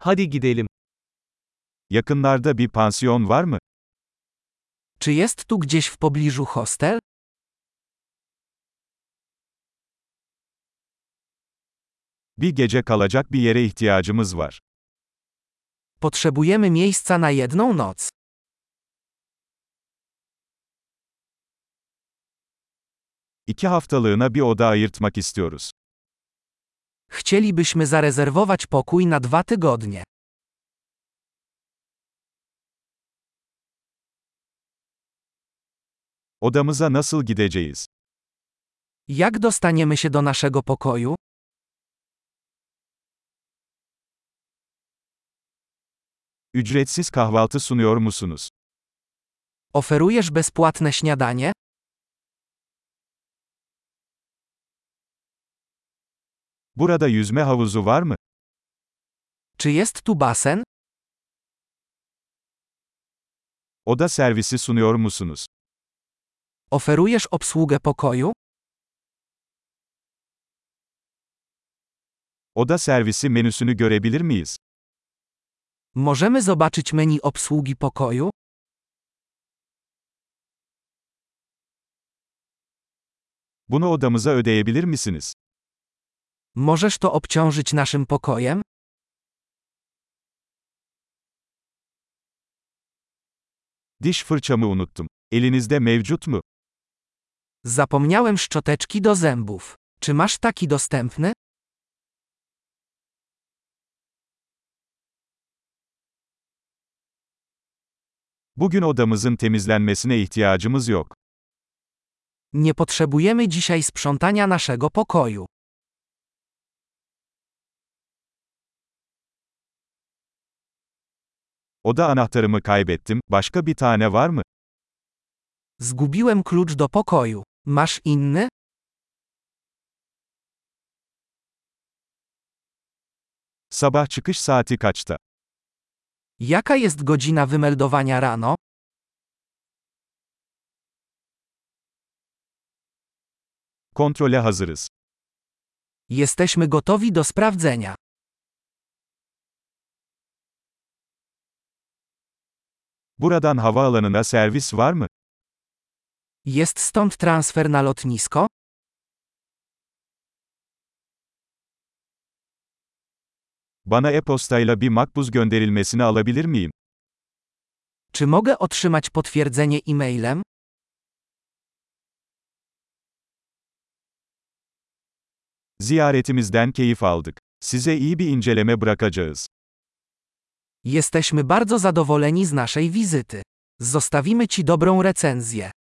Hadi gidelim. Yakınlarda bir pansiyon var mı? Czy jest tu gdzieś w pobliżu hostel? Bir gece kalacak bir yere ihtiyacımız var. Potrzebujemy miejsca na jedną noc. İki haftalığına bir oda ayırtmak istiyoruz. Chcielibyśmy zarezerwować pokój na dwa tygodnie. Odamıza nasıl gideceğiz? Jak dostaniemy się do naszego pokoju? Ücretsiz kahvaltı sunuyor musunuz? Oferujesz bezpłatne śniadanie? Burada yüzme havuzu var mı? Czy jest tu basen? Oda servisi sunuyor musunuz? Oferujesz obsługę pokoju? Oda servisi menüsünü görebilir miyiz? Możemy zobaczyć menu obsługi pokoju? Bunu odamıza ödeyebilir misiniz? Możesz to obciążyć naszym pokojem? Diş fırçamı unuttum. Elinizde mevcut mu? Zapomniałem szczoteczki do zębów. Czy masz taki dostępny? Bugün odamızın temizlenmesine ihtiyacımız yok. Nie potrzebujemy dzisiaj sprzątania naszego pokoju. Oda anahtarımı kaybettim. Başka bir tane var mı? Zgubiłem klucz do pokoju. Masz inny? Sabah çıkış saati kaçta? Jaka jest godzina wymeldowania rano? Kontrole hazırız. Jesteśmy gotowi do sprawdzenia. Buradan havaalanına servis var mı? Jest stąd transfer na lotnisko? Bana e-postayla bir makbuz gönderilmesini alabilir miyim? Czy mogę otrzymać potwierdzenie e-mailem? Ziyaretimizden keyif aldık. Size iyi bir inceleme bırakacağız. Jesteśmy bardzo zadowoleni z naszej wizyty. Zostawimy Ci dobrą recenzję.